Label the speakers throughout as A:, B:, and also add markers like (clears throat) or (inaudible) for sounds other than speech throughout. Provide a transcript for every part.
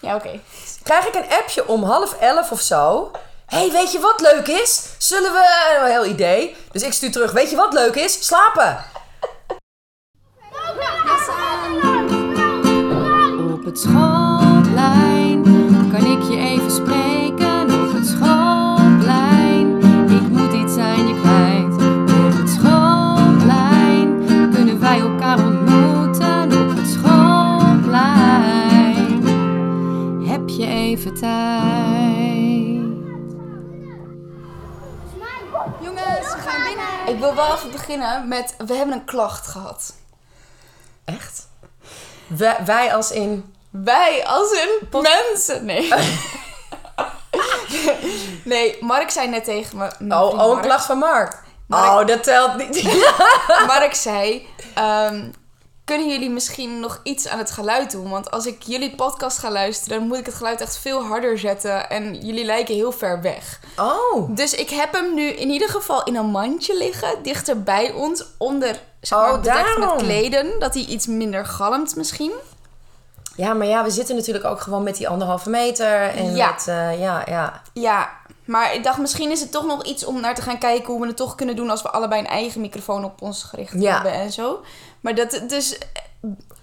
A: Ja, oké.
B: Krijg ik een appje om half elf of zo. Hé, hey, weet je wat leuk is? Zullen we... Een heel idee. Dus ik stuur terug. Weet je wat leuk is? Slapen.
C: Op het schoolplein kan ik je even spreken. Op het schoolplein, ik moet iets aan je kwijt. Op het schoolplein kunnen wij elkaar ontmoeten. Op het schoolplein heb je even tijd.
D: Jongens, we gaan binnen.
A: Ik wil wel even beginnen met... We hebben een klacht gehad.
B: Echt? We- wij als in...
A: Wij als een mensen. Nee. nee, Mark zei net tegen me... mijn
B: Oh,
A: vriend
B: oh, een
A: Mark.
B: klacht van Mark.
A: Mark.
B: Oh, dat telt niet.
A: (laughs) Mark zei... ehm, kunnen jullie misschien nog iets aan het geluid doen? Want als ik jullie podcast ga luisteren, dan moet ik het geluid echt veel harder zetten. En jullie lijken heel ver weg.
B: Oh.
A: Dus ik heb hem nu in ieder geval in een mandje liggen, dichter bij ons, onder zeg
B: Oh,
A: maar, bedekt met
B: daarom.
A: kleden, dat hij iets minder galmt misschien.
B: Ja, maar ja, we zitten natuurlijk ook gewoon met die anderhalve meter. En
A: Ja.
B: met, eh, ja, ja.
A: Ja, maar ik dacht misschien is het toch nog iets om naar te gaan kijken hoe we het toch kunnen doen als we allebei een eigen microfoon op ons gericht
B: Ja.
A: hebben en zo. Maar dat dus eh,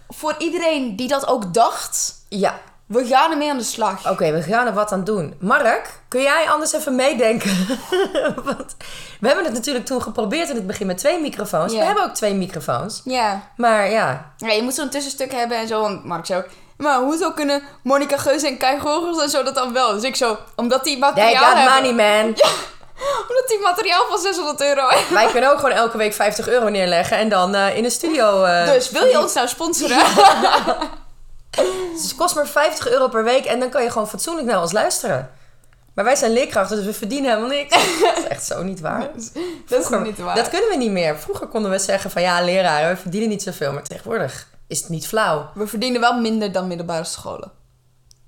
A: voor iedereen die dat ook dacht,
B: Ja,
A: we gaan ermee aan de slag.
B: oké, we gaan er wat aan doen. Mark, kun jij anders even meedenken? (laughs) Want we hebben het natuurlijk toen geprobeerd in het begin met twee microfoons.
A: Ja.
B: We hebben ook twee microfoons.
A: Ja.
B: Maar ja,
A: ja, je moet zo'n tussenstuk hebben en zo. Want Mark zei ook, maar hoezo kunnen Monica Geuze en Kai Gorgels en zo dat dan wel? Dus ik zo, omdat die materiaal
B: they got
A: hebben.
B: money, man.
A: Omdat die materiaal van 600 euro
B: Wij kunnen ook gewoon elke week 50 euro neerleggen en dan eh, in een studio. eh,
A: Dus wil je ons nou sponsoren?
B: Dus het kost maar 50 euro per week en dan kan je gewoon fatsoenlijk naar ons luisteren. Maar wij zijn leerkrachten, dus we verdienen helemaal niks.
A: (laughs)
B: Dat is echt zo niet waar.
A: Dat is
B: Vroeger-
A: niet waar.
B: Dat kunnen we niet meer. Vroeger konden we zeggen van ja, leraren, we verdienen niet zoveel. Maar tegenwoordig is het niet flauw.
A: We verdienen wel minder dan middelbare scholen.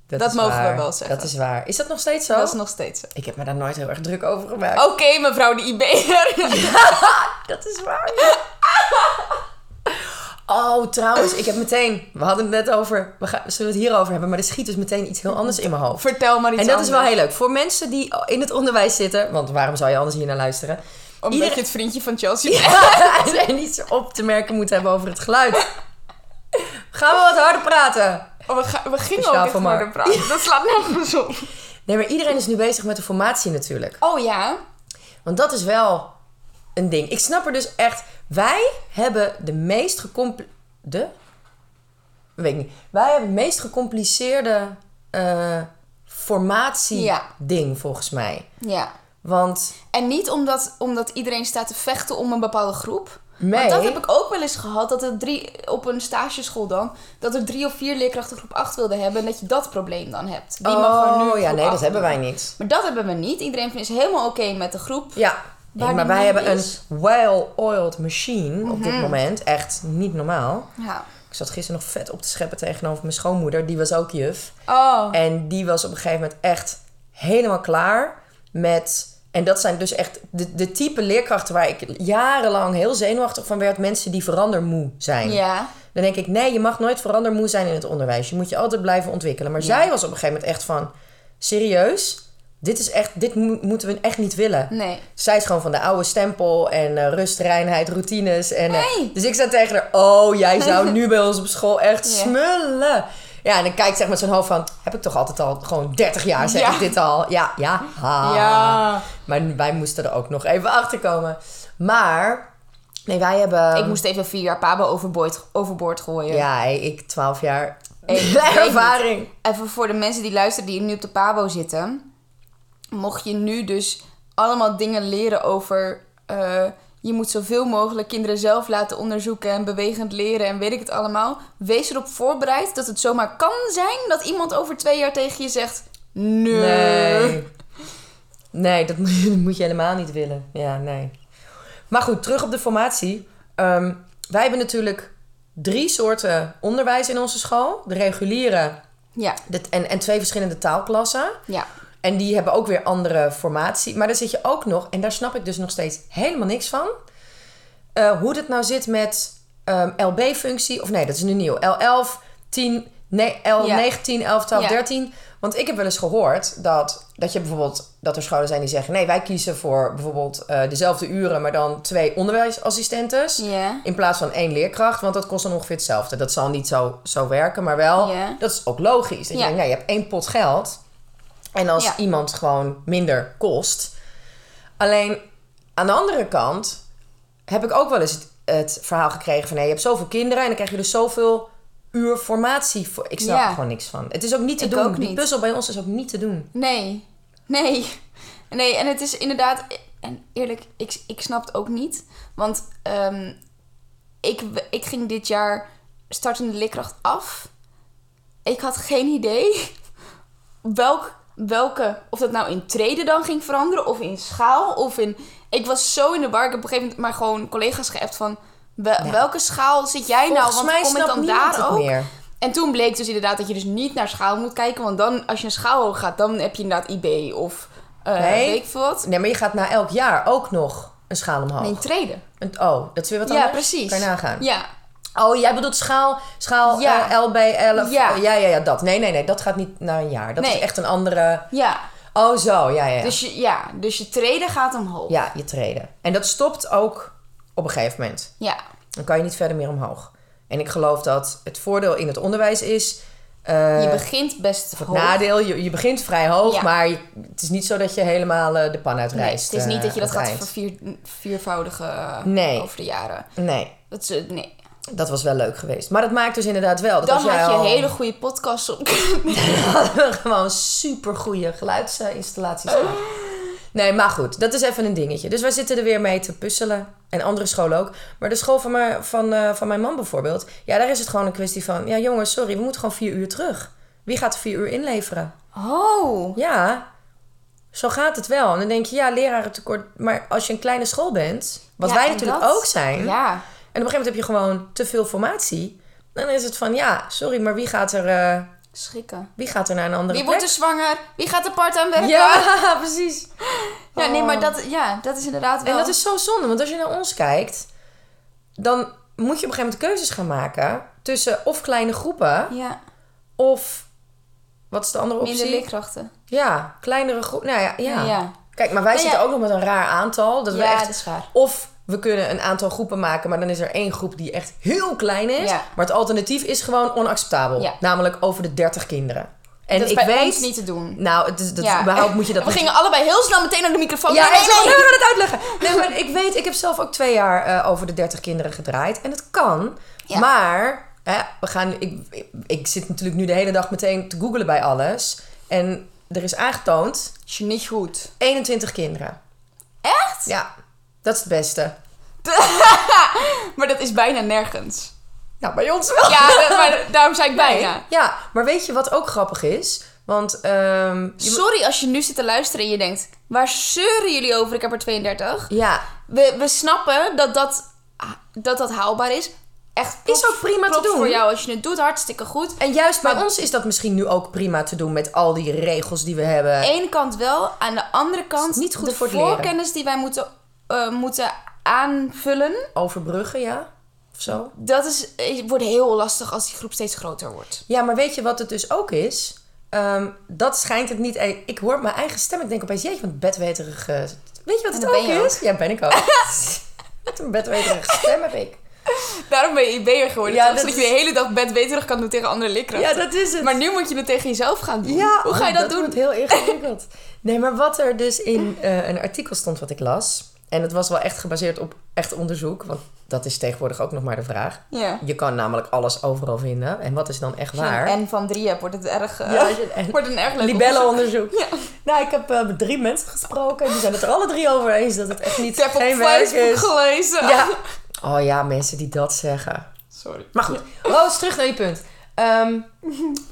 A: Dat
B: is
A: mogen we
B: waar.
A: wel zeggen.
B: Dat is waar. Is dat nog steeds zo?
A: Dat is nog steeds zo.
B: Ik heb me daar nooit heel erg druk over gemaakt.
A: Oké, mevrouw de IB'er.
B: dat is waar. ja. (laughs) Oh, trouwens, ik heb meteen... We hadden het net over... We gaan, zullen we het hierover hebben? Maar er schiet dus meteen iets heel anders in mijn
A: (laughs)
B: hoofd.
A: Vertel maar iets
B: En dat is wel
A: anders.
B: heel leuk. Voor mensen die in het onderwijs zitten... Want waarom zou je anders hier naar (laughs) luisteren?
A: Omdat
B: Iedereen-
A: je het vriendje van Chelsea bent.
B: Ja, en iets op te merken moet hebben over het geluid. Gaan we wat harder praten?
A: Oh, we, ga- we gingen
B: Speciaal
A: ook echt
B: voor Mark.
A: harder praten. Dat slaat nergens op.
B: Nee, maar iedereen is nu bezig met de formatie natuurlijk.
A: Oh ja?
B: Want dat is wel een ding. Ik snap er dus echt... Wij hebben de meest gecompliceerde... De? Weet ik niet. Wij hebben het meest gecompliceerde eh,
A: Ja.
B: formatie-ding volgens mij.
A: Ja.
B: Want...
A: En niet omdat, omdat iedereen staat te vechten om een bepaalde groep.
B: Nee.
A: Want dat heb ik ook wel eens gehad. Dat er drie, op een stageschool dan, dat er drie of vier leerkrachten groep 8 wilden hebben. En dat je dat probleem dan hebt. Die mag er nu
B: oh, ja,
A: groep
B: nee, dat
A: acht
B: hebben
A: doen.
B: wij niet.
A: Maar dat hebben we niet. Iedereen is helemaal oké met de groep.
B: Ja.
A: Waar
B: Nee, maar
A: die
B: wij
A: nu
B: hebben een
A: is. Mhm.
B: well-oiled machine op dit moment. Echt niet normaal.
A: Ja.
B: Ik zat gisteren nog vet op te scheppen tegenover mijn schoonmoeder. Die was ook juf.
A: Oh.
B: En die was op een gegeven moment echt helemaal klaar met... En dat zijn dus echt de, de type leerkrachten waar ik jarenlang heel zenuwachtig van werd. Mensen die verandermoe zijn.
A: Ja.
B: Dan denk ik, nee, je mag nooit verandermoe zijn in het onderwijs. Je moet je altijd blijven ontwikkelen. Maar zij was op een gegeven moment echt van... Serieus? Dit, is echt, dit mo- moeten we echt niet willen.
A: Nee.
B: Zij is gewoon van de oude stempel en eh, rust, reinheid, routines. En, eh,
A: Hey.
B: Dus ik zei tegen haar, oh, jij zou nu bij ons op school echt
A: Ja.
B: smullen. Ja, en dan kijkt ze echt met zo'n hoofd van, heb ik toch altijd al, gewoon 30 jaar zeg
A: Ja.
B: ik dit al. Ja, ja, ha.
A: Ja.
B: Maar wij moesten er ook nog even achter komen. Maar, nee, wij hebben...
A: Ik moest even vier jaar Pabo overboord, overboord gooien.
B: Ja, ik 12 jaar (laughs)
A: Ik weet
B: ervaring.
A: Even voor de mensen die luisteren die nu op de Pabo zitten. Mocht je nu dus allemaal dingen leren over. eh, je moet zoveel mogelijk kinderen zelf laten onderzoeken en bewegend leren en weet ik het allemaal. Wees erop voorbereid dat het zomaar kan zijn dat iemand over twee jaar tegen je zegt: Nee.
B: Nee. Nee, dat moet, je- (laughs) dat moet je helemaal niet willen. Ja, nee. Maar goed, terug op de formatie. Ehm, wij hebben natuurlijk drie soorten onderwijs in onze school. De reguliere
A: Ja,
B: de- en, en twee verschillende taalklassen.
A: ja.
B: En die hebben ook weer andere formatie. Maar daar zit je ook nog, en daar snap ik dus nog steeds helemaal niks van. eh, hoe dat nou zit met ehm, LB-functie, of nee, dat is nu nieuw. L11, 10, Nee, el-
A: Ja.
B: 19, 11, 12,
A: Ja.
B: 13. Want ik heb wel eens gehoord dat, dat je bijvoorbeeld dat er scholen zijn die zeggen: nee, wij kiezen voor bijvoorbeeld eh, dezelfde uren, maar dan twee onderwijsassistentes.
A: Ja.
B: In plaats van één leerkracht, want dat kost dan ongeveer hetzelfde. Dat zal niet zo, zo werken, maar wel,
A: Ja.
B: dat is ook logisch. Dat je
A: Ja.
B: denkt, nou, je hebt één pot geld. En als
A: Ja.
B: iemand gewoon minder kost. Alleen aan de andere kant heb ik ook wel eens het, het verhaal gekregen van... hé, je hebt zoveel kinderen en dan krijg je dus zoveel uur formatie. Voor. Ik snap
A: Ja.
B: er gewoon niks van. Het is ook niet te
A: Ik
B: doen.
A: ook
B: Die
A: niet.
B: puzzel bij ons is ook niet te doen.
A: Nee, nee. (laughs) Nee, en het is inderdaad... En eerlijk, ik, ik snap het ook niet. Want ehm, ik, ik ging dit jaar startende leerkracht af. Ik had geen idee (laughs) welk, welke... Of dat nou in treden dan ging veranderen. Of in schaal. Of in... Ik was zo in de war. Ik heb op een gegeven moment maar gewoon collega's geappt van... wel- Welke schaal zit jij nou?
B: Volgens
A: Want
B: mij
A: kom ik
B: snapt
A: dan
B: niemand het
A: daar ook?
B: meer.
A: En toen bleek dus inderdaad dat je dus niet naar schaal moet kijken. Want dan, als je naar schaal hoog gaat, dan heb je inderdaad IB of eh
B: Nee.
A: weet ik veel wat.
B: Nee, maar je gaat na elk jaar ook nog een schaal omhoog.
A: Nee, treden.
B: Een- oh, dat is weer wat anders?
A: ja, precies.
B: Kan je nagaan.
A: Ja,
B: Oh, jij bedoelt schaal, schaal
A: Ja.
B: eh, LB 11.
A: Ja.
B: Ja. ja, ja, dat. Nee, nee, nee, dat gaat niet naar een jaar. Dat
A: Nee.
B: is echt een andere...
A: ja.
B: Oh, zo, ja, ja. ja.
A: Dus, je, ja. dus je treden gaat omhoog.
B: Ja, je treden. En dat stopt ook op een gegeven moment.
A: Ja.
B: Dan kan je niet verder meer omhoog. En ik geloof dat het voordeel in het onderwijs is... eh,
A: Je begint best
B: het
A: hoog.
B: nadeel, je, je begint vrij hoog,
A: Ja.
B: maar je- het is niet zo dat je helemaal eh, de pan
A: Nee,
B: uitrijst.
A: het is niet
B: eh,
A: dat je dat
B: aan
A: gaat
B: het eind.
A: vervier, viervoudigen eh,
B: Nee.
A: over de jaren.
B: Nee,
A: Dat is, eh, nee.
B: dat was wel leuk geweest. Maar dat maakt dus inderdaad wel... Dat
A: Dan
B: als jij
A: had je
B: al-
A: hele goede podcasts
B: (laughs)
A: op.
B: gewoon super goede geluidsinstallaties. Nee, maar goed, dat is even een dingetje. Dus wij zitten er weer mee te puzzelen. En andere scholen ook. Maar de school van mijn, van, eh, van mijn man bijvoorbeeld. Ja, daar is het gewoon een kwestie van. Ja, jongens, sorry, we moeten gewoon vier uur terug. Wie gaat er vier uur inleveren?
A: Oh.
B: Ja, zo gaat het wel. En dan denk je, ja, lerarentekort. Maar als je een kleine school bent, wat
A: Ja,
B: wij
A: en
B: natuurlijk
A: dat-
B: ook zijn.
A: Ja.
B: En op een gegeven moment heb je gewoon te veel formatie. Dan is het van, ja, sorry, maar wie gaat er, eh,
A: Schrikken.
B: wie gaat er naar een andere
A: Wie
B: plek?
A: wordt er zwanger? Wie gaat er part aan werken?
B: Ja, (laughs) precies.
A: Ja, nee, maar dat, ja, dat is inderdaad wel...
B: En dat is zo zonde, want als je naar ons kijkt, dan moet je op een gegeven moment keuzes gaan maken tussen of kleine groepen
A: Ja,
B: of wat is de andere optie?
A: minder leerkrachten.
B: Ja, kleinere groepen. Nou ja, ja.
A: Ja. ja.
B: Kijk, maar wij
A: Nou ja.
B: zitten ook nog met een raar aantal. Dat we
A: Ja,
B: echt,
A: dat is waar.
B: Of we kunnen een aantal groepen maken, maar dan is er één groep die echt heel klein is.
A: Ja.
B: Maar het alternatief is gewoon onacceptabel.
A: Ja.
B: Namelijk over de 30 kinderen. En
A: dat is bij
B: ik weet
A: ons niet te doen.
B: Nou, het is, dat,
A: Ja.
B: überhaupt moet je dat
A: We
B: niet
A: gingen allebei heel snel meteen naar de microfoon.
B: Ja,
A: nee, nee,
B: ik zal
A: nee.
B: nu aan het uitleggen. Nee, maar ik weet, ik heb zelf ook twee jaar eh, over de 30 kinderen gedraaid. En het kan.
A: Ja.
B: Maar hè, we gaan, ik, ik, ik zit natuurlijk nu de hele dag meteen te googelen bij alles. En er is aangetoond
A: Is je niet goed.
B: 21 kinderen.
A: Echt?
B: Ja, dat is het beste.
A: Maar dat is bijna nergens.
B: Nou, bij ons wel.
A: Ja, (laughs) dat- maar daarom zei ik bijna.
B: Nee. Ja, maar weet je wat ook grappig is? Want ehm, je-
A: Sorry als je nu zit te luisteren en je denkt... Waar zeuren jullie over? Ik heb er 32.
B: ja,
A: We, we snappen dat dat, dat dat haalbaar is. Echt
B: Is ook prima te
A: props
B: doen.
A: voor jou als je het doet. Hartstikke goed.
B: en juist bij
A: Maar-
B: ons is dat misschien nu ook prima te doen met al die regels die we hebben.
A: ene kant wel, aan de andere kant
B: Niet goed
A: de
B: voor het leren.
A: voorkennis die wij moeten, eh, moeten aanvullen.
B: Overbruggen, ja? Of zo?
A: Dat is, eh, wordt heel lastig als die groep steeds groter wordt.
B: Ja, maar weet je wat het dus ook is? Ehm, dat schijnt het niet. e- Ik hoor mijn eigen stem. Ik denk opeens, jeetje, wat een bedweterige. Weet je wat het
A: dat
B: ook
A: ben je
B: is? Ja, ben ik ook.
A: (laughs)
B: wat een bedweterige stem heb ik.
A: Daarom ben je IB'er geworden.
B: Ja,
A: toch?
B: dat
A: Zodat
B: is-
A: je de hele dag bedweterig kan doen tegen andere leerkrachten.
B: Ja, dat is het.
A: Maar nu moet je het tegen jezelf gaan doen.
B: Ja,
A: Hoe ga je
B: oh,
A: dat, doen?
B: wordt heel ingewikkeld. nee, maar wat er dus in eh, een artikel stond wat ik las. En het was wel echt gebaseerd op echt onderzoek. Want dat is tegenwoordig ook nog maar de vraag.
A: Ja.
B: Je kan namelijk alles overal vinden. En wat is dan echt waar?
A: En van drie hebt, wordt het erg... eh, (laughs)
B: Ja, als je- en-
A: Wordt een erg leuk
B: Libellenonderzoek.
A: Ja.
B: Nou, ik heb eh, met drie mensen gesproken. Die zijn het er alle drie over eens dat het echt niet
A: Ik heb op
B: geen werk
A: Facebook
B: is.
A: gelezen.
B: Ja. Oh ja, mensen die dat zeggen.
A: Sorry.
B: Maar goed, Roos, terug naar je punt. Ehm,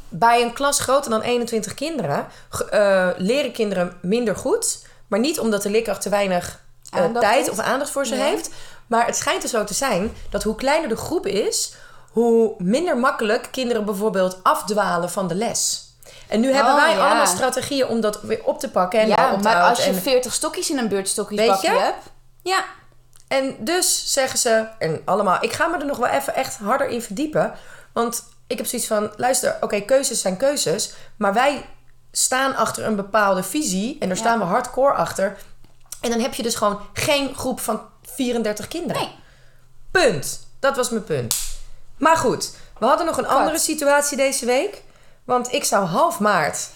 B: bij een klas groter dan 21 kinderen ge- eh, leren kinderen minder goed. Maar niet omdat de leerkracht te weinig eh,
A: Aandacht
B: tijd
A: heeft.
B: of aandacht voor ze
A: Nee.
B: heeft. Maar het schijnt er zo te zijn dat hoe kleiner de groep is, hoe minder makkelijk kinderen bijvoorbeeld afdwalen van de les. En nu hebben
A: Oh,
B: wij
A: ja.
B: allemaal strategieën om dat weer op te pakken. En
A: Ja,
B: op te
A: maar
B: houden
A: als je
B: en-
A: 40 stokjes in een
B: Weet
A: beurtstokjesbakje
B: je?
A: hebt... Ja.
B: En dus zeggen ze, en allemaal, ik ga me er nog wel even echt harder in verdiepen. Want ik heb zoiets van, luister, oké, keuzes zijn keuzes. Maar wij staan achter een bepaalde visie. En daar
A: Ja.
B: staan we hardcore achter. En dan heb je dus gewoon geen groep van 34 kinderen.
A: Nee.
B: Punt. Dat was mijn punt. Maar goed, we hadden nog een andere situatie deze week. Want ik zou half
A: (laughs)
B: maart...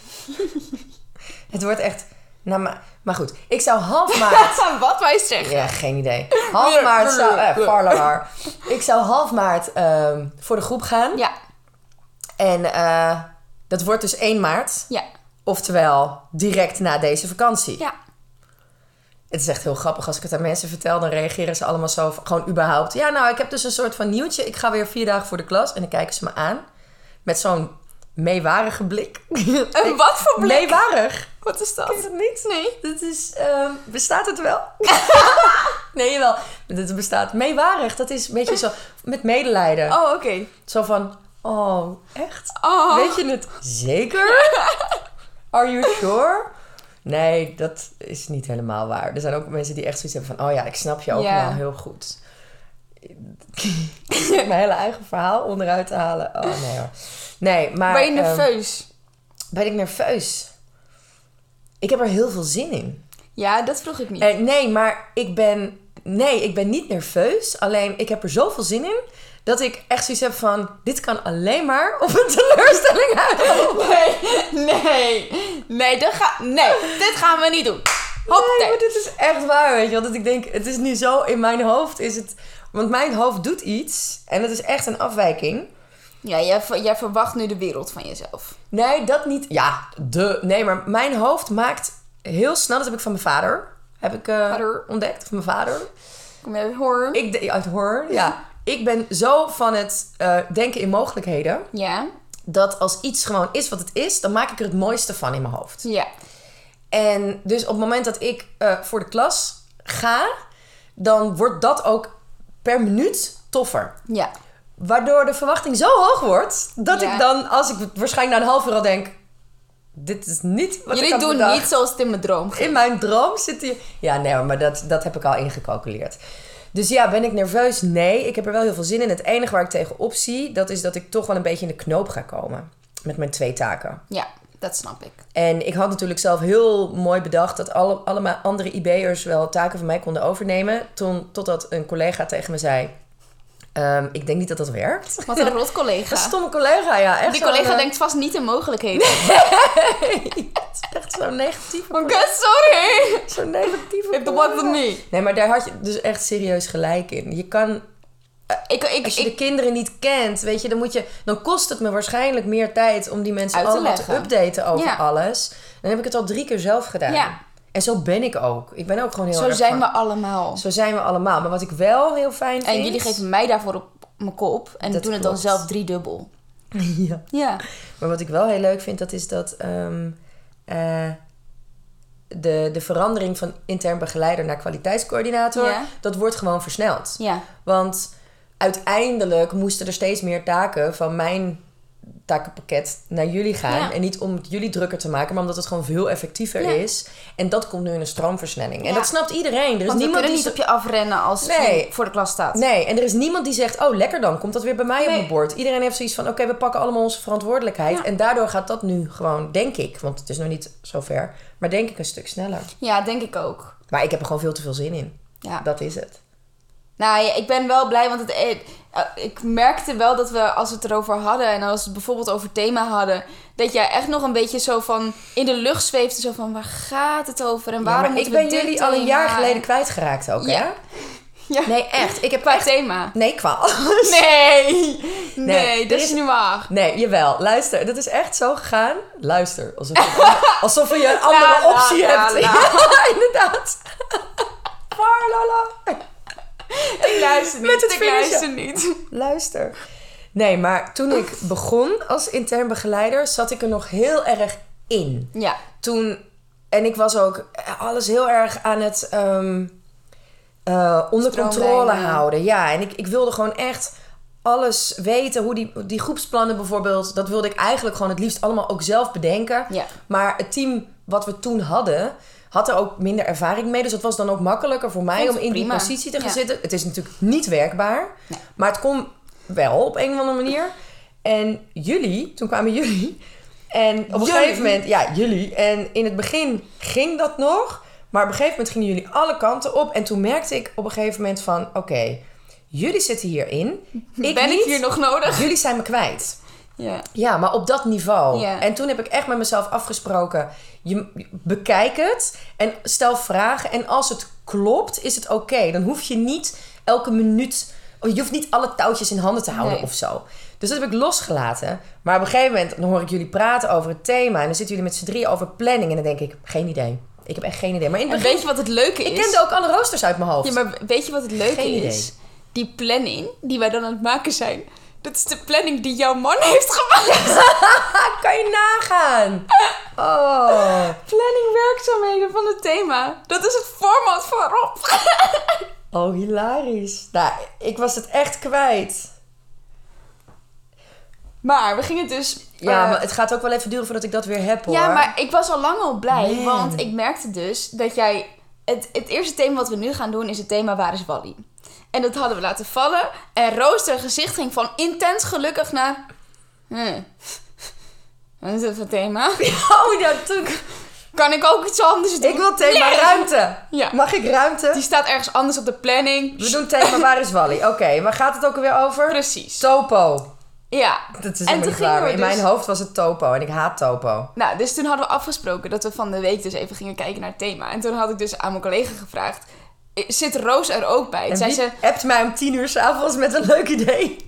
B: het wordt echt... Nou, maar, maar goed, ik zou
A: (laughs)
B: half maart...
A: Wat wij zeggen.
B: Ja, geen idee. Half maart zou... eh, Farlawar. Ik zou half maart ehm, voor de groep gaan.
A: Ja,
B: En eh, dat wordt dus 1 maart.
A: ja,
B: Oftewel, direct na deze vakantie.
A: ja.
B: Het is echt heel grappig. Als ik het aan mensen vertel, dan reageren ze allemaal zo van, gewoon überhaupt. Ja, nou, ik heb dus een soort van nieuwtje. Ik ga weer vier dagen voor de klas. En dan kijken ze me aan. Met zo'n meewarige blik.
A: En wat voor blik?
B: Meewarig.
A: Wat is dat?
B: Is dat niet?
A: Nee.
B: Dit is, ehm, bestaat het wel? (laughs) nee, wel. Dit bestaat. Meewarig, dat is een beetje zo met medelijden.
A: Oh, oké.
B: Zo van, oh, echt?
A: Oh.
B: Weet je het
A: (laughs)
B: zeker? Are you sure? Nee, dat is niet helemaal waar. Er zijn ook mensen die echt zoiets hebben van, oh ja, ik snap je ook
A: Ja.
B: wel heel goed. (laughs) Ik zit mijn hele eigen verhaal onderuit te halen. Oh nee hoor. Nee, maar...
A: ben je
B: ehm,
A: nerveus?
B: ben ik nerveus? Ik heb er heel veel zin in.
A: ja, dat vroeg ik niet.
B: Eh, nee, maar ik ben. Nee, ik ben niet nerveus. Alleen ik heb er zoveel zin in. Dat ik echt zoiets heb van. Dit kan alleen maar op een (laughs) teleurstelling uitlopen.
A: (laughs) Nee, nee, nee, dat ga, nee, dit gaan we niet doen. Hop,
B: Nee, maar dit is echt waar, weet je wel. Dat ik denk, het is nu zo in mijn hoofd is het... Want mijn hoofd doet iets en het is echt een afwijking.
A: Ja, jij, ver- jij verwacht nu de wereld van jezelf.
B: Nee, dat niet. Ja, de... Nee, maar mijn hoofd maakt heel snel... Dat heb ik van mijn vader. Heb ik eh,
A: Vader.
B: ontdekt, van mijn vader.
A: Kom je horen?
B: Ik, de- uit horror, ja. Ik ben zo van het eh, denken in mogelijkheden...
A: Ja,
B: dat als iets gewoon is wat het is, dan maak ik er het mooiste van in mijn hoofd.
A: ja,
B: En dus op het moment dat ik eh, voor de klas ga, dan wordt dat ook per minuut toffer.
A: ja.
B: Waardoor de verwachting zo hoog wordt dat
A: Ja.
B: ik dan, als ik waarschijnlijk na een half uur al denk: dit is niet wat ik
A: Jullie
B: had
A: doen
B: bedacht.
A: niet zoals het in mijn droom ging.
B: In mijn droom zit hij. Ja, nee, hoor, maar dat, dat heb ik al ingecalculeerd. Dus ja, ben ik nerveus? Nee, ik heb er wel heel veel zin in. Het enige waar ik tegenop zie, dat is dat ik toch wel een beetje in de knoop ga komen. Met mijn twee taken.
A: Ja, dat snap ik.
B: En ik had natuurlijk zelf heel mooi bedacht dat alle, allemaal andere IB'ers wel taken van mij konden overnemen. Toen, totdat een collega tegen me zei: "Ehm, Ik denk niet dat dat werkt.
A: Wat (laughs) een rot
B: Een
A: collega.
B: (laughs) stomme collega, ja. Echt
A: Die
B: zo'n,
A: collega
B: eh,
A: denkt vast niet in mogelijkheden.
B: (laughs) Echt zo'n negatieve,
A: Oké, sorry.
B: zo'n negatieve
A: Ik doe
B: collega.
A: wat niet.
B: Nee, maar daar had je dus echt serieus gelijk in. Je kan,
A: Ik, ik,
B: als je de
A: ik,
B: kinderen niet kent, weet je, dan moet je... Dan kost het me waarschijnlijk meer tijd om die mensen
A: Uit te
B: allemaal te
A: leggen.
B: updaten over
A: Ja.
B: alles. Dan heb ik het al drie keer zelf gedaan.
A: Ja.
B: En zo ben ik ook. Ik ben ook gewoon heel
A: zo
B: erg
A: zijn
B: van-
A: we allemaal.
B: Zo zijn we allemaal. Maar wat ik wel heel fijn vind...
A: En jullie geven mij daarvoor op mijn kop en
B: Dat
A: doen het dan
B: klopt.
A: zelf driedubbel.
B: (laughs) Ja.
A: Ja.
B: Maar wat ik wel heel leuk vind, dat is dat... ehm, eh, de, de verandering van intern begeleider naar kwaliteitscoördinator...
A: Ja.
B: dat wordt gewoon versneld.
A: Ja.
B: Want uiteindelijk moesten er steeds meer taken van mijn takenpakket naar jullie gaan.
A: Ja.
B: En niet om het jullie drukker te maken, maar omdat het gewoon veel effectiever
A: Ja.
B: is. En dat komt nu in een stroomversnelling. En
A: Ja.
B: dat snapt iedereen. Er
A: Want we
B: is Dus niemand
A: kunnen
B: die
A: niet
B: zo-
A: op je afrennen als
B: Nee.
A: je voor de klas staat.
B: Nee, en er is niemand die zegt: Oh, lekker dan, komt dat weer bij mij op
A: Nee.
B: mijn bord. Iedereen heeft zoiets van: Oké, we pakken allemaal onze verantwoordelijkheid.
A: Ja.
B: En daardoor gaat dat nu gewoon, denk ik, want het is nog niet zo ver, maar denk ik een stuk sneller.
A: Ja, denk ik ook.
B: Maar ik heb er gewoon veel te veel zin in.
A: Ja.
B: Dat is het.
A: Nou, ja, ik ben wel blij, want het, eh, eh, ik merkte wel dat we, als we het erover hadden en als we het bijvoorbeeld over thema hadden, dat jij echt nog een beetje zo van in de lucht zweefde. Zo van, waar gaat het over en
B: Ja,
A: waarom
B: maar ik
A: moeten we
B: ben
A: dit
B: jullie al een
A: thema?
B: jaar geleden kwijtgeraakt ook,
A: Ja.
B: hè?
A: Ja.
B: Nee, echt. Ik heb
A: Qua
B: echt...
A: thema.
B: Nee, kwaal.
A: Nee, nee,
B: Nee,
A: dat
B: er
A: is
B: is-
A: niet waar.
B: Nee, jawel. Luister, dat is echt zo gegaan. Luister,
A: (laughs)
B: alsof je, alsof je een
A: La,
B: andere
A: la,
B: optie
A: la,
B: hebt.
A: la.
B: (laughs) Ja, inderdaad. Farlala.
A: Ik luister niet,
B: Met het
A: ik
B: vingertje.
A: luister niet.
B: Luister. Nee, maar toen ik begon als intern begeleider, zat ik er nog heel erg in.
A: Ja,
B: Toen, en ik was ook alles heel erg aan het ehm, eh, onder controle
A: Stroomlijnen.
B: houden. Ja, en ik, ik wilde gewoon echt alles weten. Hoe die, die groepsplannen bijvoorbeeld, dat wilde ik eigenlijk gewoon het liefst allemaal ook zelf bedenken.
A: Ja.
B: Maar het team wat we toen hadden, had er ook minder ervaring mee. Dus dat was dan ook makkelijker voor mij
A: Vond
B: om
A: ik
B: in die
A: prima.
B: positie te gaan
A: Ja.
B: zitten. Het is natuurlijk niet werkbaar,
A: Nee.
B: maar het kon wel op een of andere manier. En jullie, toen kwamen jullie. En op een
A: Jullie?
B: gegeven moment, ja, jullie. En in het begin ging dat nog. Maar op een gegeven moment gingen jullie alle kanten op. En toen merkte ik op een gegeven moment van, oké, jullie zitten hierin. Ik
A: ben
B: niet.
A: ik hier nog nodig?
B: Jullie zijn me kwijt.
A: Ja.
B: Ja, maar op dat niveau.
A: Ja.
B: En toen heb ik echt met mezelf afgesproken. Je, bekijk het en stel vragen. En als het klopt, is het oké. Dan hoef je niet elke minuut... Je hoeft niet alle touwtjes in handen te houden
A: Nee.
B: of zo. Dus dat heb ik losgelaten. Maar op een gegeven moment dan hoor ik jullie praten over het thema. En dan zitten jullie met z'n drieën over planning. En dan denk ik, geen idee. Ik heb echt geen idee. Maar in het
A: En
B: begin...
A: weet je wat het leuke is?
B: Ik kende ook alle roosters uit mijn hoofd.
A: Ja, maar weet je wat het leuke
B: Geen idee.
A: is? Die planning die wij dan aan het maken zijn. Dat is de planning die jouw man (laughs) heeft gemaakt.
B: Ah, Kan je
A: (laughs)
B: nagaan? Oh.
A: planning werkzaamheden van het thema. Dat is het format van Rob.
B: Oh, hilarisch. Nou, ik was het echt kwijt.
A: Maar we gingen dus...
B: Ja,
A: eh,
B: maar het gaat ook wel even duren voordat ik dat weer heb hoor.
A: ja, maar (laughs) ik was al lang al blij.
B: Man.
A: Want ik merkte dus dat jij... Het, het eerste thema wat we nu gaan doen is het thema Waar is Wally? En dat hadden we laten vallen. En Roos haar gezicht ging van intens gelukkig naar... Hm. Wat is dat voor thema?
B: Oh, dat toen...
A: Kan ik ook iets anders doen?
B: Ik wil thema
A: nou, Nee.
B: ruimte.
A: Ja.
B: Mag ik
A: Die
B: ruimte?
A: staat ergens anders op de planning.
B: We doen thema waar is Wally.
A: (laughs)
B: Oké, waar gaat het ook alweer over?
A: Precies.
B: Topo.
A: Ja.
B: Dat is
A: En
B: helemaal
A: toen
B: niet waar.
A: gingen we
B: In mijn
A: dus-
B: hoofd was het topo en ik haat topo.
A: Nou, dus toen hadden we afgesproken dat we van de week dus even gingen kijken naar het thema. En toen had ik dus aan mijn collega gevraagd, "Eh, zit Roos er ook bij? Toen
B: En
A: zei
B: wie
A: ze,
B: appt mij om tien uur s'avonds met een leuk idee?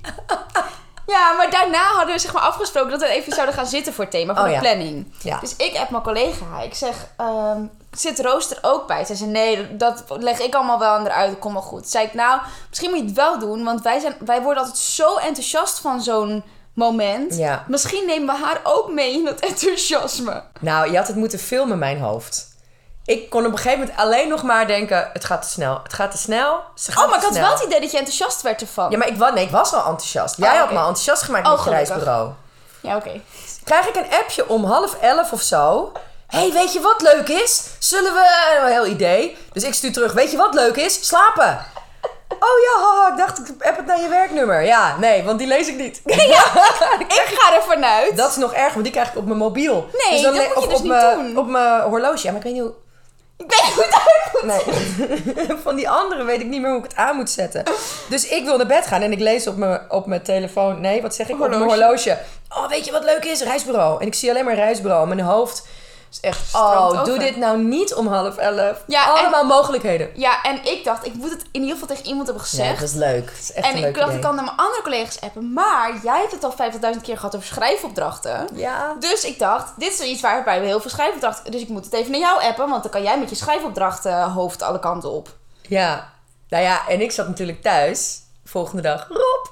A: ja, maar daarna hadden we zeg maar afgesproken dat we even zouden gaan zitten voor het thema, voor
B: Oh,
A: de
B: ja.
A: planning.
B: Ja.
A: Dus ik heb mijn collega, ik zeg, ehm, zit Roos er ook bij? Zei ze, nee, dat leg ik allemaal wel aan eruit, dat komt wel goed. Zei ik, nou, misschien moet je het wel doen, want wij, zijn, wij worden altijd zo enthousiast van zo'n moment.
B: Ja.
A: Misschien nemen we haar ook mee in dat enthousiasme.
B: Nou, je had het moeten filmen in mijn hoofd. Ik kon op een gegeven moment alleen nog maar denken... Het gaat te snel, het gaat te snel. Ze gaat
A: Oh, maar ik
B: te
A: had
B: snel.
A: wel het idee dat je enthousiast werd ervan.
B: Ja, maar ik, wa- nee, ik was al enthousiast. Jij
A: Oh,
B: had
A: oké.
B: me enthousiast gemaakt
A: Oh,
B: met je
A: gelukkig.
B: reisbureau.
A: Ja, oké.
B: Krijg ik een appje om half elf of zo. Hé, hey, weet je wat leuk is? Zullen we... Een heel idee. Dus ik stuur terug. Weet je wat leuk is? Slapen. Oh ja, haha, ik dacht, ik app het naar je werknummer. Ja, nee, want die lees ik niet. (laughs)
A: Ik ga er vanuit.
B: Dat is nog erg, want die krijg ik op mijn mobiel.
A: Nee, dat
B: le-
A: moet je
B: of
A: dus
B: op
A: niet
B: mijn-
A: doen.
B: Op mijn horloge. Ja, maar ik weet niet hoe...
A: Ik weet niet hoe het uit moet.
B: Nee. (laughs) Van die andere weet ik niet meer hoe ik het aan moet zetten. Dus ik wil naar bed gaan en ik lees op mijn, op mijn telefoon. Nee, wat zeg ik? Op mijn
A: Horloge.
B: horloge. Oh, weet je wat leuk is? Reisbureau. En ik zie alleen maar reisbureau. Mijn hoofd is echt.
A: Stroomt
B: oh, doe
A: over.
B: dit nou niet om half elf.
A: Ja, en-
B: Allemaal mogelijkheden.
A: Ja, en ik dacht, ik moet het in ieder geval tegen iemand hebben
B: Ja,
A: gezegd.
B: dat is leuk. Dat is echt
A: en
B: een
A: ik
B: leuk
A: dacht,
B: idee.
A: ik kan naar mijn andere collega's appen. Maar jij hebt het al 50.000 keer gehad over schrijfopdrachten.
B: Ja.
A: Dus ik dacht, dit is iets waarbij we heel veel schrijfopdrachten... Dus ik moet het even naar jou appen, want dan kan jij met je schrijfopdrachten hoofd alle kanten op.
B: Ja. Nou ja, en ik zat natuurlijk thuis. Volgende dag. Rob. (laughs)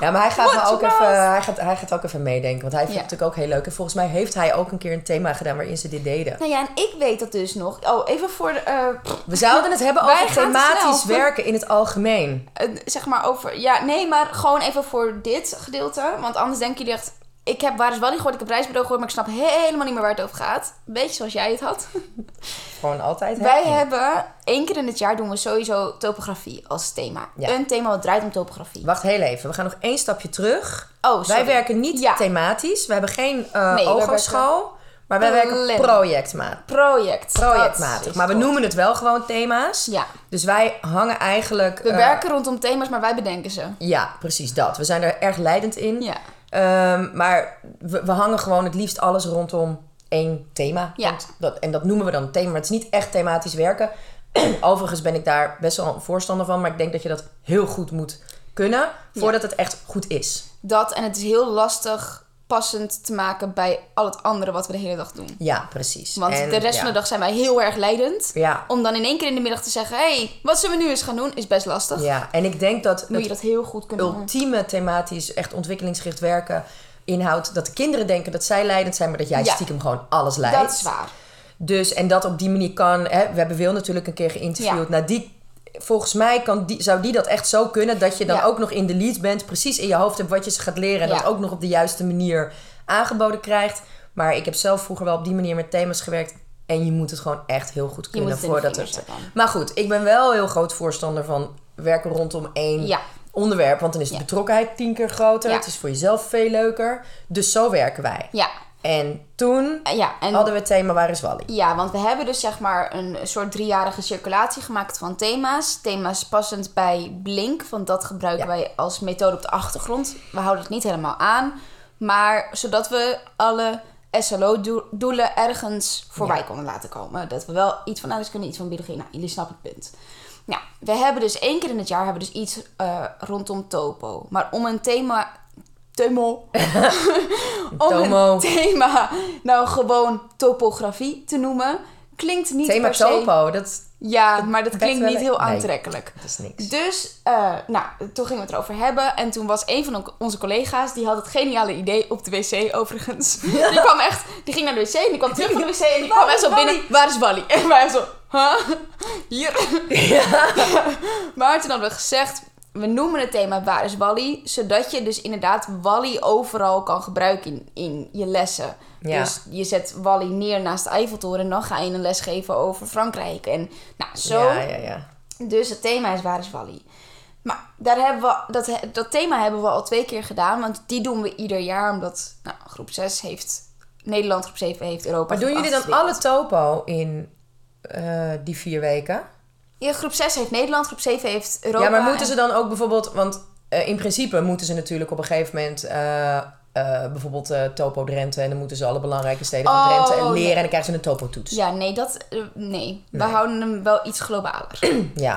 B: Ja, maar hij gaat, me
A: Wat
B: ook
A: was?
B: even, hij, gaat, hij gaat ook even meedenken. Want hij vindt
A: Ja.
B: het natuurlijk ook heel leuk. En volgens mij heeft hij ook een keer een thema gedaan waarin ze dit deden.
A: Nou ja, en ik weet dat dus nog. Oh, even voor de... eh,
B: We zouden het
A: (laughs)
B: hebben
A: Wij
B: over
A: gaan te
B: thematisch
A: snel.
B: werken in het algemeen.
A: Eh, zeg maar over. Ja, nee, maar gewoon even voor dit gedeelte. Want anders denken jullie echt. Ik heb waar is Wally gehoord, ik heb reisbureau gehoord, maar ik snap he- helemaal niet meer waar het over gaat. Beetje zoals jij het had.
B: Gewoon altijd. hè?
A: Wij hebben één keer in het jaar doen we sowieso topografie als thema.
B: Ja.
A: Een thema wat draait om topografie.
B: Wacht heel even, we gaan nog één stapje terug.
A: Oh, sorry.
B: Wij werken niet
A: Ja.
B: thematisch. We hebben geen eh
A: Nee, wij
B: ooghoogschool. Maar wij werken
A: Planning.
B: projectmatig.
A: Project. eh, Dat
B: Projectmatig.
A: is
B: Maar we
A: goed.
B: noemen het wel gewoon thema's.
A: Ja.
B: Dus wij hangen eigenlijk.
A: We
B: eh,
A: werken rondom thema's, maar wij bedenken ze.
B: Ja, precies dat. We zijn er erg leidend in.
A: Ja.
B: Ehm, maar we, we hangen gewoon het liefst alles rondom één thema.
A: Ja.
B: Want Dat, en dat noemen we dan een thema. Maar het is niet echt thematisch werken. (clears throat) Overigens ben ik daar best wel een voorstander van. Maar ik denk dat je dat heel goed moet kunnen voordat het echt goed is.
A: Dat en het is heel lastig passend te maken bij al het andere wat we de hele dag doen.
B: Ja, precies.
A: Want
B: En
A: de rest
B: ja.
A: van de dag zijn wij heel erg leidend.
B: Ja.
A: Om dan in één keer in de middag te zeggen: hé, hey, wat zullen we nu eens gaan doen? Is best lastig.
B: ja, en ik denk dat
A: Moet je
B: het
A: dat heel goed kunnen doen.
B: ultieme thematisch, echt ontwikkelingsgericht werken inhoudt dat de kinderen denken dat zij leidend zijn, maar dat jij
A: Ja.
B: stiekem gewoon alles leidt.
A: Dat is waar.
B: Dus, en dat op die manier kan... Hè, we hebben Wil natuurlijk een keer geïnterviewd. Nou, die, volgens mij kan die, zou die dat echt zo kunnen... dat je dan
A: Ja.
B: ook nog in de lead bent... precies in je hoofd hebt wat je ze gaat leren... en
A: Ja.
B: dat ook nog op de juiste manier aangeboden krijgt. Maar ik heb zelf vroeger wel op die manier met thema's gewerkt... en je moet het gewoon echt heel goed
A: Je moet
B: kunnen
A: het in de
B: voordat
A: vingers
B: er...
A: hebben.
B: Maar goed, ik ben wel heel groot voorstander van... werken rondom één
A: Ja.
B: onderwerp. Want dan is de
A: Ja.
B: betrokkenheid tien keer groter.
A: Ja.
B: Het is voor jezelf veel leuker. Dus zo werken wij.
A: Ja,
B: En toen
A: eh, ja, en,
B: hadden we het thema Waar is Wally?
A: ja, want we hebben dus zeg maar een soort driejarige circulatie gemaakt van thema's. Thema's passend bij Blink, want dat gebruiken
B: Ja.
A: wij als methode op de achtergrond. We houden het niet helemaal aan, maar zodat we alle SLO-doelen ergens voorbij konden laten komen. Dat we wel iets van alles kunnen, iets van biologie. Nou, jullie snappen het punt. Nou, we hebben dus één keer in het jaar hebben we dus iets eh, rondom topo. Maar om een thema...
B: (laughs)
A: Temo. om
B: Tomo.
A: een thema nou gewoon topografie te noemen, klinkt niet
B: Thema
A: per se...
B: Topo, dat
A: Ja, maar dat
B: wekt
A: klinkt
B: wel
A: niet
B: een-
A: heel
B: nee.
A: aantrekkelijk.
B: dat is niks.
A: Dus, eh, nou, toen gingen we het erover hebben. En toen was een van on- onze collega's, die had het geniale idee op de wc overigens. Die kwam echt, die ging naar de wc en die kwam terug van de wc en die kwam echt zo binnen. Waar is Wally? (laughs) En wij zo, huh? Hier. (laughs) Maar toen hadden we gezegd, we noemen het thema Waar is Wally? Zodat je dus inderdaad Wally overal kan gebruiken in, in je lessen.
B: Ja.
A: Dus je zet Wally neer naast de Eiffeltoren en dan ga je een les geven over Frankrijk. En nou, zo.
B: Ja, ja, ja.
A: Dus het thema is Waar is Wally? Maar daar hebben we, dat, he- dat thema hebben we al twee keer gedaan. Want die doen we ieder jaar. Omdat nou, groep 6 heeft Nederland, groep 7 heeft Europa.
B: Maar doen
A: groep
B: jullie
A: acht
B: dan
A: heeft
B: alle Topo in eh, die vier weken?
A: Ja, groep 6 heeft Nederland, groep 7 heeft Europa.
B: Ja, maar moeten
A: en-
B: ze dan ook bijvoorbeeld... Want eh, in principe moeten ze natuurlijk op een gegeven moment... eh, eh, bijvoorbeeld eh, Topo Drenthe. En dan moeten ze alle belangrijke steden van
A: Oh,
B: Drenthe en leren.
A: nee.
B: En dan krijgen ze een Topo-toets. Ja,
A: Ja, nee, dat... eh, nee. we houden hem wel iets globaler.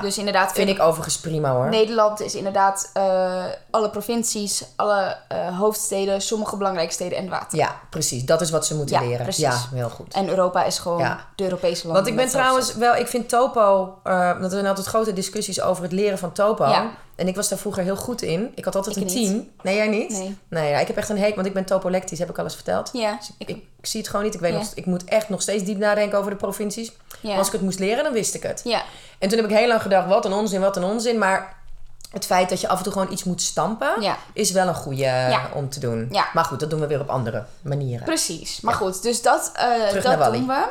A: Dus inderdaad,
B: vind ik overigens prima hoor.
A: Nederland is inderdaad eh, alle provincies, alle eh, hoofdsteden, sommige belangrijke steden en water.
B: Ja, precies. Dat is wat ze moeten
A: Ja,
B: leren.
A: precies.
B: Ja, heel goed.
A: En Europa is gewoon
B: Ja.
A: de Europese landen.
B: Want ik ben
A: met
B: trouwens wel, ik vind topo, eh, want er zijn altijd grote discussies over het leren van topo.
A: Ja.
B: En ik was daar vroeger heel goed in. Ik had altijd
A: Ik
B: een
A: niet.
B: 10. Nee, jij niet?
A: Nee.
B: ja, ik heb echt een heek, want ik ben topolectisch, heb ik al eens verteld.
A: Ja,
B: Dus ik,
A: ik-
B: ik, ik zie het gewoon niet. Ik, weet
A: Ja.
B: nog, ik moet echt nog steeds diep nadenken over de provincies.
A: Ja.
B: Als ik het moest leren, dan wist ik het.
A: Ja.
B: En toen heb ik heel lang gedacht, wat een onzin, wat een onzin. Maar het feit dat je af en toe gewoon iets moet stampen,
A: Ja.
B: is wel een goede om te doen.
A: Ja.
B: Maar goed, dat doen we weer op andere manieren.
A: Precies. Maar goed, dus dat, eh,
B: naar
A: dat
B: Wally.
A: doen we.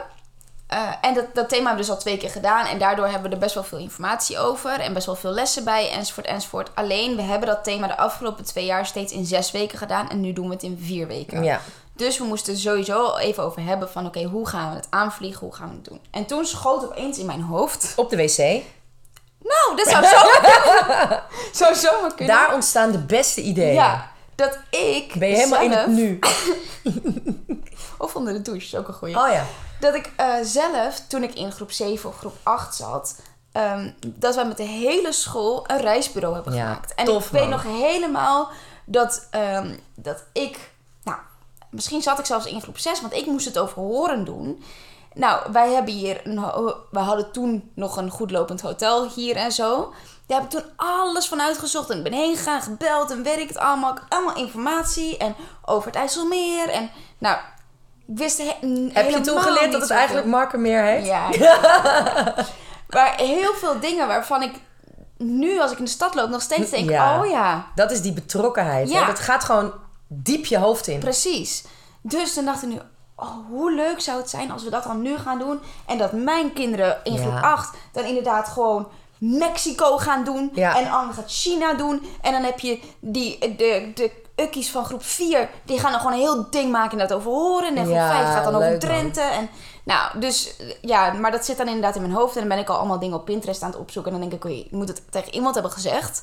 A: Eh, en dat, dat thema hebben we dus al twee keer gedaan. En daardoor hebben we er best wel veel informatie over. En best wel veel lessen bij, enzovoort, enzovoort. Alleen, we hebben dat thema de afgelopen twee jaar steeds in zes weken gedaan. En nu doen we het in vier weken.
B: Ja.
A: Dus we moesten het sowieso al even over hebben van... Oké, hoe gaan we het aanvliegen? Hoe gaan we het doen? En toen schoot opeens in mijn hoofd...
B: Op de wc.
A: Nou, dat
B: (laughs)
A: zou zomaar kunnen. zou zomaar kunnen.
B: Daar ontstaan de beste ideeën.
A: Ja, dat ik
B: Ben je helemaal in het
A: zelf-
B: nu?
A: Of onder de douche, is ook een goeie.
B: Oh ja.
A: Dat ik eh, zelf, toen ik in groep 7 of groep 8 zat... ehm, dat wij met de hele school een reisbureau hebben
B: Ja,
A: gemaakt. En
B: tof,
A: ik
B: man.
A: weet nog helemaal dat, ehm, dat ik... Nou, misschien zat ik zelfs in groep 6, want ik moest het over horen doen. Nou, wij hebben hier... Een, ho- we hadden toen nog een goedlopend hotel hier en zo. Daar heb ik toen alles van uitgezocht. En ik ben heen gegaan, gebeld en weet ik het allemaal. Ik heb Allemaal informatie en over het IJsselmeer. En nou, ik wist he-
B: Heb je toen geleerd dat het eigenlijk Markermeer heet?
A: Ja.
B: (laughs)
A: maar heel veel dingen waarvan ik nu als ik in de stad loop nog steeds denk,
B: Ja.
A: oh ja,
B: Dat is die betrokkenheid. hè?
A: Ja.
B: Dat gaat gewoon diep je hoofd in.
A: precies. Dus dan dacht ik nu, oh, hoe leuk zou het zijn als we dat dan nu gaan doen. En dat mijn kinderen in
B: Ja.
A: groep 8 dan inderdaad gewoon Mexico gaan doen.
B: Ja.
A: En Anne gaat China doen. En dan heb je die, de, de ukkies van groep 4. Die gaan dan gewoon een heel ding maken en dat over horen. En groep
B: Ja,
A: 5 gaat dan over
B: leuk, man.
A: Drenthe. En, nou, dus eh, ja, maar dat zit dan inderdaad in mijn hoofd. En dan ben ik al allemaal dingen op Pinterest aan het opzoeken. En dan denk ik, oei, ik moet het tegen iemand hebben gezegd.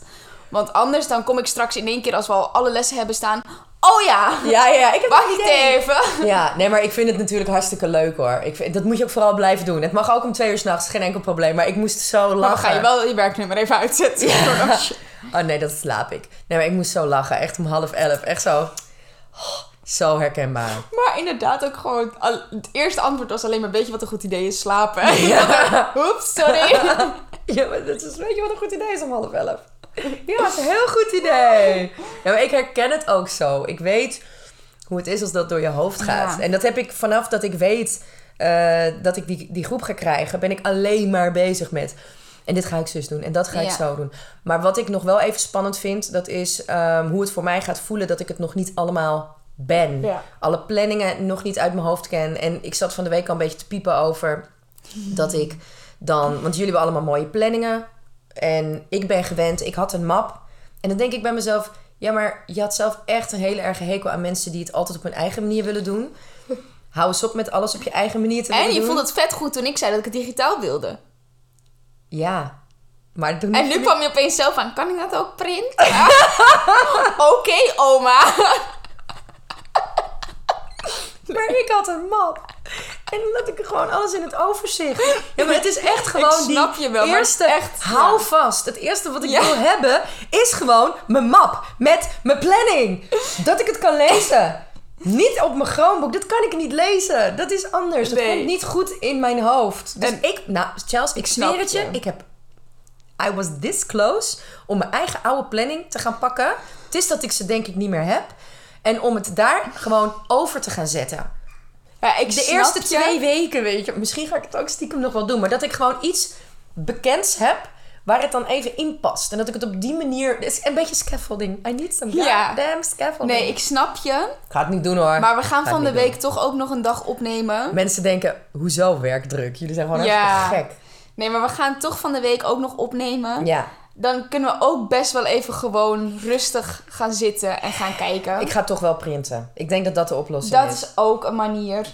A: Want anders dan kom ik straks in één keer als we al alle lessen hebben staan. Oh ja,
B: Ja, ja, ik heb
A: wacht
B: een idee.
A: even.
B: Ja, nee, maar ik vind het natuurlijk hartstikke leuk hoor. Ik vind, dat moet je ook vooral blijven doen. Het mag ook om twee uur s'nachts, geen enkel probleem. Maar ik moest zo lachen.
A: Maar dan ga je wel je werknummer even uitzetten.
B: Oh nee, dat slaap ik. Nee, maar ik moest zo lachen. Echt om half elf. Echt zo. Oh, zo
A: (laughs)
B: herkenbaar. (laughs)
A: Maar inderdaad ook gewoon... al- Het eerste antwoord was alleen maar... Weet je wat een goed idee is? Slapen. (laughs) Oeps, sorry.
B: (laughs) Ja, maar dat is, weet je wat een goed idee is om half elf? Ja, dat is een heel goed idee. Ja, maar ik herken het ook zo. Ik weet hoe het is als dat door je hoofd gaat.
A: Ja.
B: En dat heb ik vanaf dat ik weet eh, dat ik die, die groep ga krijgen, ben ik alleen maar bezig met. En dit ga ik zus doen en dat ga ik
A: Ja.
B: zo doen. Maar wat ik nog wel even spannend vind, dat is ehm, hoe het voor mij gaat voelen dat ik het nog niet allemaal ben.
A: Ja.
B: Alle planningen nog niet uit mijn hoofd ken. En ik zat van de week al een beetje te piepen over dat ik dan. Want jullie hebben allemaal mooie planningen. En ik ben gewend, ik had een map. En dan denk ik bij mezelf, ja, maar je had zelf echt een hele erge hekel aan mensen die het altijd op hun eigen manier willen doen. Hou eens op met alles op je eigen manier te willen
A: En je
B: doen.
A: vond het vet goed toen ik zei dat ik het digitaal wilde.
B: Ja. Maar toen
A: En nu kwam je opeens zelf aan, kan ik dat ook print?
B: (laughs)
A: Ja. Oké, oma.
B: Maar ik had een map. En dan had ik gewoon alles in het overzicht. Ja, maar het is echt gewoon
A: Ik snap
B: die
A: je wel, maar
B: eerste...
A: echt,
B: hou vast. Het eerste wat ik
A: Ja.
B: wil hebben is gewoon mijn map. Met mijn planning. Dat ik het kan lezen. Niet op mijn Chromebook. Dat kan ik niet lezen. Dat is anders. Dat
A: Nee.
B: komt niet goed in mijn hoofd. Dus
A: En-
B: ik... Nou, Charles, ik
A: snap
B: zweer het je.
A: je.
B: Ik heb... I was this close om mijn eigen oude planning te gaan pakken. Het is dat ik ze denk ik niet meer heb. En om het daar gewoon over te gaan zetten.
A: Ja, ik
B: De
A: snap
B: eerste
A: je.
B: twee weken, weet je. Misschien ga ik het ook stiekem nog wel doen. Maar dat ik gewoon iets bekends heb waar het dan even in past. En dat ik het op die manier... Het is een beetje scaffolding. I need some
A: Ja.
B: damn scaffolding.
A: Nee, ik snap je.
B: ga het niet doen hoor.
A: Maar we gaan
B: Ga
A: van
B: het
A: de
B: niet
A: week toch ook nog een dag opnemen.
B: doen. Mensen denken, hoezo werkdruk? Jullie zijn gewoon
A: Ja.
B: hartstikke gek.
A: Nee, maar we gaan toch van de week ook nog opnemen.
B: Ja.
A: Dan kunnen we ook best wel even gewoon rustig gaan zitten en gaan kijken.
B: Ik ga toch wel printen. Ik denk dat dat de oplossing
A: Dat
B: is.
A: is ook een manier.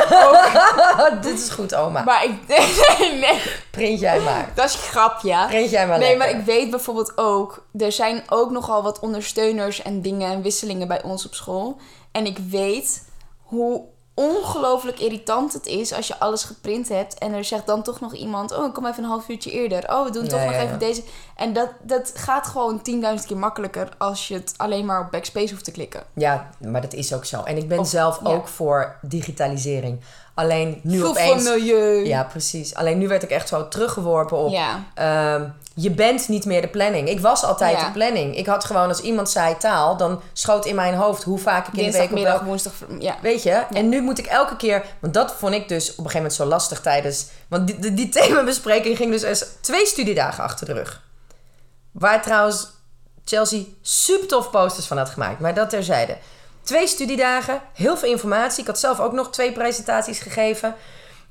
B: (laughs) Dit is goed, oma.
A: Maar ik... (laughs) Nee, nee.
B: Print jij maar.
A: Dat is een grap, ja.
B: Print jij maar
A: Nee, maar
B: lekker.
A: ik weet bijvoorbeeld ook... Er zijn ook nogal wat ondersteuners en dingen en wisselingen bij ons op school. En ik weet hoe ongelooflijk irritant het is als je alles geprint hebt... en er zegt dan toch nog iemand... oh, ik kom even een half uurtje eerder. Oh, we doen toch
B: Ja,
A: nog
B: ja, ja.
A: even deze. En dat, dat gaat gewoon 10.000 keer makkelijker... als je het alleen maar op backspace hoeft te klikken.
B: Ja, maar dat is ook zo. En ik ben
A: Of-
B: zelf
A: Oh, ja.
B: ook voor digitalisering. Alleen nu
A: Goed voor
B: opeens...
A: milieu.
B: Ja, precies. Alleen nu werd ik echt zo teruggeworpen op...
A: Ja.
B: ehm, je bent niet meer de planning. Ik was altijd
A: Ja.
B: de planning. Ik had gewoon, als iemand zei taal, dan schoot in mijn hoofd hoe vaak ik in de week op
A: Dinsdagmiddag,
B: welk-
A: woensdag... Ja.
B: Weet je? En nu moet ik elke keer... Want dat vond ik dus op een gegeven moment zo lastig tijdens... Want die, die, (laughs) die themabespreking ging dus eens twee studiedagen achter de rug. Waar trouwens Chelsea super tof posters van had gemaakt. Maar dat terzijde. Twee studiedagen, heel veel informatie. Ik had zelf ook nog twee presentaties gegeven.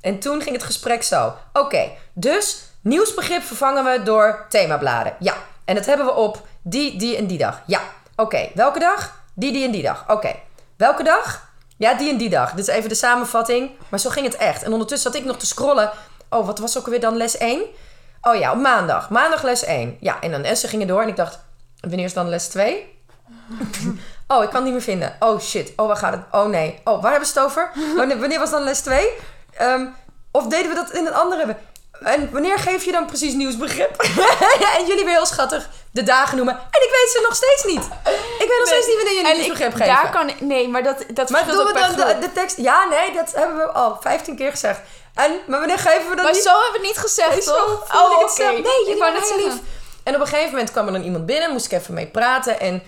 B: En toen ging het gesprek zo. Oké, dus nieuwsbegrip vervangen we door themabladen. Ja. En dat hebben we op die, die en die dag. Ja. Oké, welke dag? Die, die en die dag. Oké. Welke dag? Ja, die en die dag. Dit is even de samenvatting. Maar zo ging het echt. En ondertussen zat ik nog te scrollen. Oh, wat was ook alweer dan les 1? Oh ja, op maandag. Maandag les 1. Ja, en dan Essen gingen door en ik dacht, wanneer is dan les 2? (laughs) oh, ik kan het niet meer vinden. Oh shit. Oh, waar gaat het? Oh nee. Oh, waar hebben ze het over? Oh, nee, wanneer was dan les 2? Ehm, of deden we dat in een andere... we- En wanneer geef je dan precies nieuwsbegrip? (laughs) en jullie weer heel schattig de dagen noemen. En ik weet ze nog steeds niet. Ik weet nog steeds niet wanneer jullie
A: En ik,
B: nieuwsbegrip geven.
A: daar kan ik... Nee, maar dat, dat
B: Maar
A: verschilt
B: doen we
A: ook per
B: dan de,
A: groep.
B: de tekst... Ja, nee, dat hebben we al 15 keer gezegd. En, maar wanneer geven we dan
A: Maar
B: niet-
A: zo hebben we het niet gezegd,
B: Nee, zo
A: toch?
B: voelde
A: Oh,
B: ik het
A: oké.
B: zelf. Nee, jullie
A: ik wou
B: waren
A: net
B: heel
A: zeggen.
B: lief. En op een gegeven moment kwam er dan iemand binnen, moest ik even mee praten. En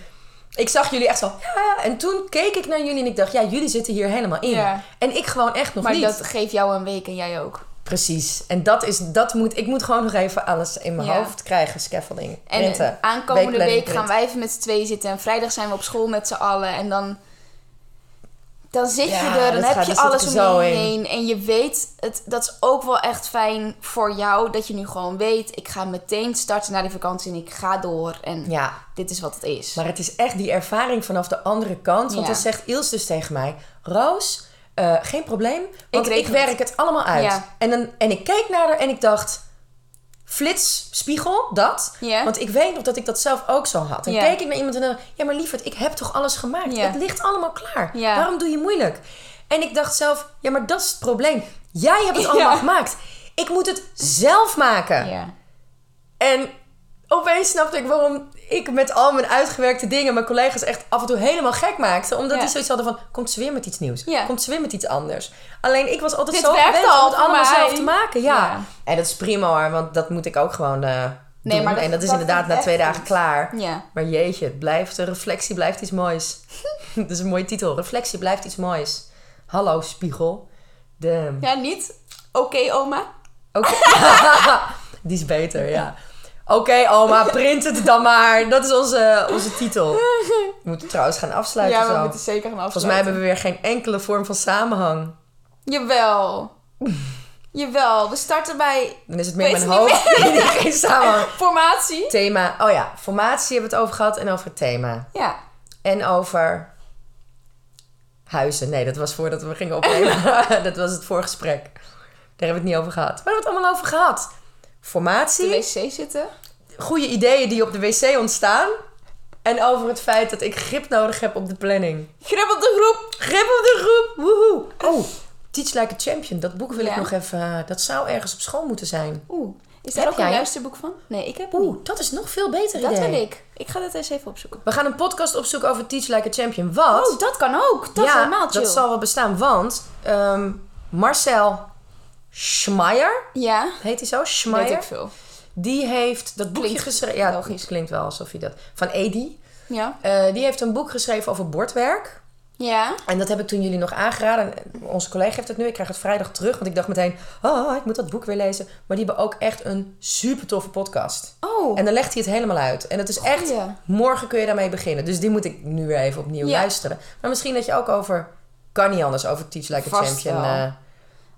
B: ik zag jullie echt zo. "Ja, ja." En toen keek ik naar jullie en ik dacht, ja, jullie zitten hier helemaal in.
A: Ja.
B: En ik gewoon echt nog
A: Maar
B: niet.
A: dat geeft jou een week en jij ook.
B: Precies. En dat is, dat moet, ik moet gewoon nog even alles in mijn
A: Ja.
B: hoofd krijgen, scaffolding.
A: En
B: printen,
A: aankomende week
B: weekplanning
A: gaan
B: printen.
A: wij even met z'n tweeën zitten. En vrijdag zijn we op school met z'n allen. En dan, dan zit
B: Ja,
A: je er,
B: dat
A: dan heb
B: gaat-
A: je
B: daar zit
A: alles
B: ik
A: om
B: zo
A: je
B: in.
A: heen. En je weet, het, dat is ook wel echt fijn voor jou. Dat je nu gewoon weet, ik ga meteen starten naar die vakantie. En ik ga door. En
B: Ja,
A: dit is wat het is.
B: Maar het is echt die ervaring vanaf de andere kant. Want
A: Ja.
B: dan zegt Iels dus tegen mij... Roos, eh, geen probleem, want ik,
A: reken
B: werk het, allemaal uit.
A: Ja.
B: En, dan, en ik keek naar haar en ik dacht... Flits, spiegel, dat.
A: Ja.
B: Want ik weet nog dat ik dat zelf ook zo had. En
A: Ja.
B: keek ik naar iemand en dacht... Ja, maar lieverd, ik heb toch alles gemaakt?
A: Ja.
B: Het ligt allemaal klaar.
A: Ja.
B: Waarom doe je moeilijk? En ik dacht zelf... Ja, maar dat is het probleem. Jij hebt
A: (laughs)
B: het
A: Ja.
B: allemaal gemaakt. Ik moet het zelf maken.
A: ja.
B: En opeens snapte ik waarom ik met al mijn uitgewerkte dingen mijn collega's echt af en toe helemaal gek maakte. Omdat
A: Ja.
B: die zoiets hadden van, komt ze weer met iets nieuws?
A: Ja.
B: Komt ze weer met iets anders? Alleen ik was altijd
A: Dit
B: zo
A: werkt
B: gewend
A: al
B: om het
A: voor
B: allemaal
A: mij.
B: zelf te maken. Ja.
A: Ja.
B: En dat is prima hoor, want dat moet ik ook gewoon eh,
A: Nee,
B: doen.
A: maar dat-
B: en dat is
A: dat
B: inderdaad
A: vind
B: na
A: ik
B: twee
A: echt
B: dagen
A: goed.
B: klaar.
A: Ja.
B: Maar jeetje, het blijft, de reflectie blijft iets moois. (laughs) dat is een mooie titel. Reflectie blijft iets moois. Hallo spiegel. Damn.
A: Ja, niet? Oké, oma.
B: Oké. (laughs) Die is beter, ja. Oké, oma, print het dan maar. Dat is onze, onze titel. We moeten trouwens gaan afsluiten
A: Ja,
B: zo.
A: we moeten zeker gaan afsluiten.
B: Volgens mij hebben we weer geen enkele vorm van samenhang.
A: Jawel. Jawel, we starten bij
B: Dan is het meer in
A: Weet
B: mijn
A: het niet
B: hoofd. Nee, (laughs) geen samenhang.
A: formatie.
B: Thema. Oh ja, formatie hebben we het over gehad en over het thema.
A: Ja,
B: En over huizen. Nee, dat was voordat we gingen opnemen. (laughs) dat was het voorgesprek. Daar hebben we het niet over gehad. Waar hebben we het allemaal over gehad?
A: de
B: Formatie.
A: wc zitten.
B: Goede ideeën die op de wc ontstaan. En over het feit dat ik grip nodig heb op de planning.
A: Grip op de groep.
B: Grip op de groep! Woehoe! Oh, Teach Like a Champion. Dat boek wil ik
A: Ja.
B: nog even... eh, Dat zou ergens op school moeten zijn.
A: Oeh, is daar
B: Heb
A: ook een
B: jij?
A: luisterboek van? Nee, ik heb het
B: Oeh, dat is nog veel beter
A: niet. Dat
B: idee.
A: wil ik. Ik ga dat eens even opzoeken.
B: We gaan een podcast opzoeken over Teach Like a Champion. Wat?
A: Oh, dat kan ook. Dat is
B: ja,
A: helemaal chill.
B: dat zal wel bestaan. Want ehm, Marcel Schmeier,
A: Ja,
B: heet hij zo?
A: weet
B: Schmeier?
A: ik veel.
B: Die heeft dat boekje
A: Klinkt
B: geschreven. Ja,
A: logisch.
B: klinkt wel alsof hij dat... Van Edi.
A: Ja.
B: Eh, die heeft een boek geschreven over bordwerk.
A: Ja.
B: En dat heb ik toen jullie nog aangeraden. En Onze collega heeft het nu. Ik krijg het vrijdag terug. Want ik dacht meteen, oh, ik moet dat boek weer lezen. Maar die hebben ook echt een super toffe podcast.
A: Oh.
B: En dan legt hij het helemaal uit. En het is echt,
A: Goeie.
B: morgen kun je daarmee beginnen. Dus die moet ik nu weer even opnieuw
A: Ja.
B: luisteren. Maar misschien dat je ook over, kan niet anders, over Teach Like a
A: Vast
B: Champion.
A: wel.
B: eh,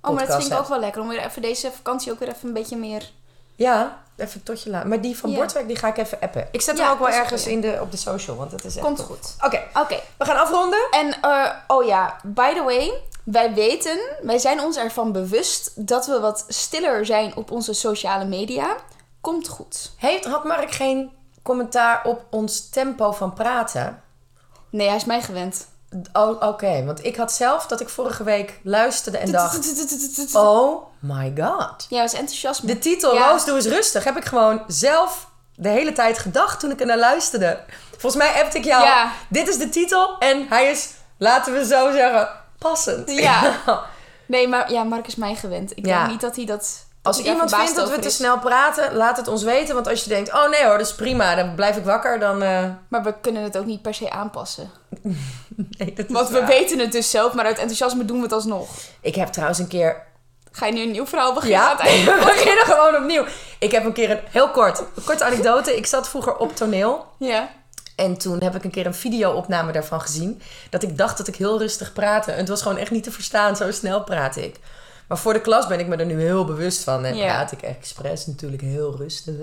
A: Oh, maar dat
B: podcast
A: vind ik
B: hebt.
A: ook wel lekker. Om weer even deze vakantie ook weer even een beetje meer...
B: ja, even tot je laten. Maar die van
A: Ja.
B: Bordwerk, die ga ik even appen. Ik zet
A: Ja,
B: hem ook wel
A: dat is
B: ergens
A: goed.
B: in de, op de social, want het is echt
A: Komt
B: tof.
A: goed.
B: Oké,
A: Oké.
B: we gaan afronden.
A: En, eh, oh ja, by the way, wij weten, wij zijn ons ervan bewust dat we wat stiller zijn op onze sociale media. Komt goed.
B: Heeft, had Mark geen commentaar op ons tempo van praten?
A: Nee, hij is mij gewend.
B: Oh, Oké, want ik had zelf dat ik vorige week luisterde en dacht... Oh my god.
A: (laughs) Ja, was enthousiasme.
B: De titel
A: Ja.
B: Roos, doe eens rustig. Heb ik gewoon zelf de hele tijd gedacht toen ik er naar luisterde. Volgens mij appte ik jou.
A: Ja.
B: Dit is de titel en hij is, laten we zo zeggen, passend. (laughs)
A: Ja. Nee, maar ja, Mark is mij gewend. Ik
B: Ja.
A: denk niet dat hij dat... dat
B: Als
A: hij daar
B: iemand
A: verbaasd
B: vindt dat we
A: over
B: te
A: is.
B: snel praten, laat het ons weten. Want als je denkt, oh nee hoor, dat is prima, dan blijf ik wakker. Dan, eh,
A: Maar we kunnen het ook niet per se
B: (laughs)
A: aanpassen.
B: nee, dat is
A: Want we
B: waar.
A: weten het dus zelf, maar uit enthousiasme doen we het alsnog.
B: Ik heb trouwens een keer
A: Ga je nu een nieuw verhaal (laughs) beginnen?
B: (laughs) Ja,
A: aan het einde?
B: we beginnen gewoon opnieuw. Ik heb een keer een, heel kort, een korte anekdote. Ik zat vroeger op toneel.
A: Ja.
B: En toen heb ik een keer een videoopname daarvan gezien. Dat ik dacht dat ik heel rustig praatte. En het was gewoon echt niet te verstaan. Zo snel praatte ik. Maar voor de klas ben ik me er nu heel bewust van. En
A: Ja.
B: praat ik expres natuurlijk heel rustig.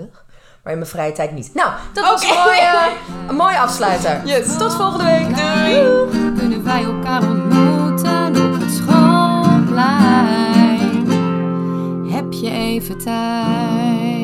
B: Maar in mijn vrije tijd niet. Nou, dat was
A: Oké. (laughs)
B: een, mooie, een mooie afsluiter.
A: Yes.
B: Tot volgende week.
C: kunnen wij elkaar ontmoeten op het schoolplein. Heb je even tijd?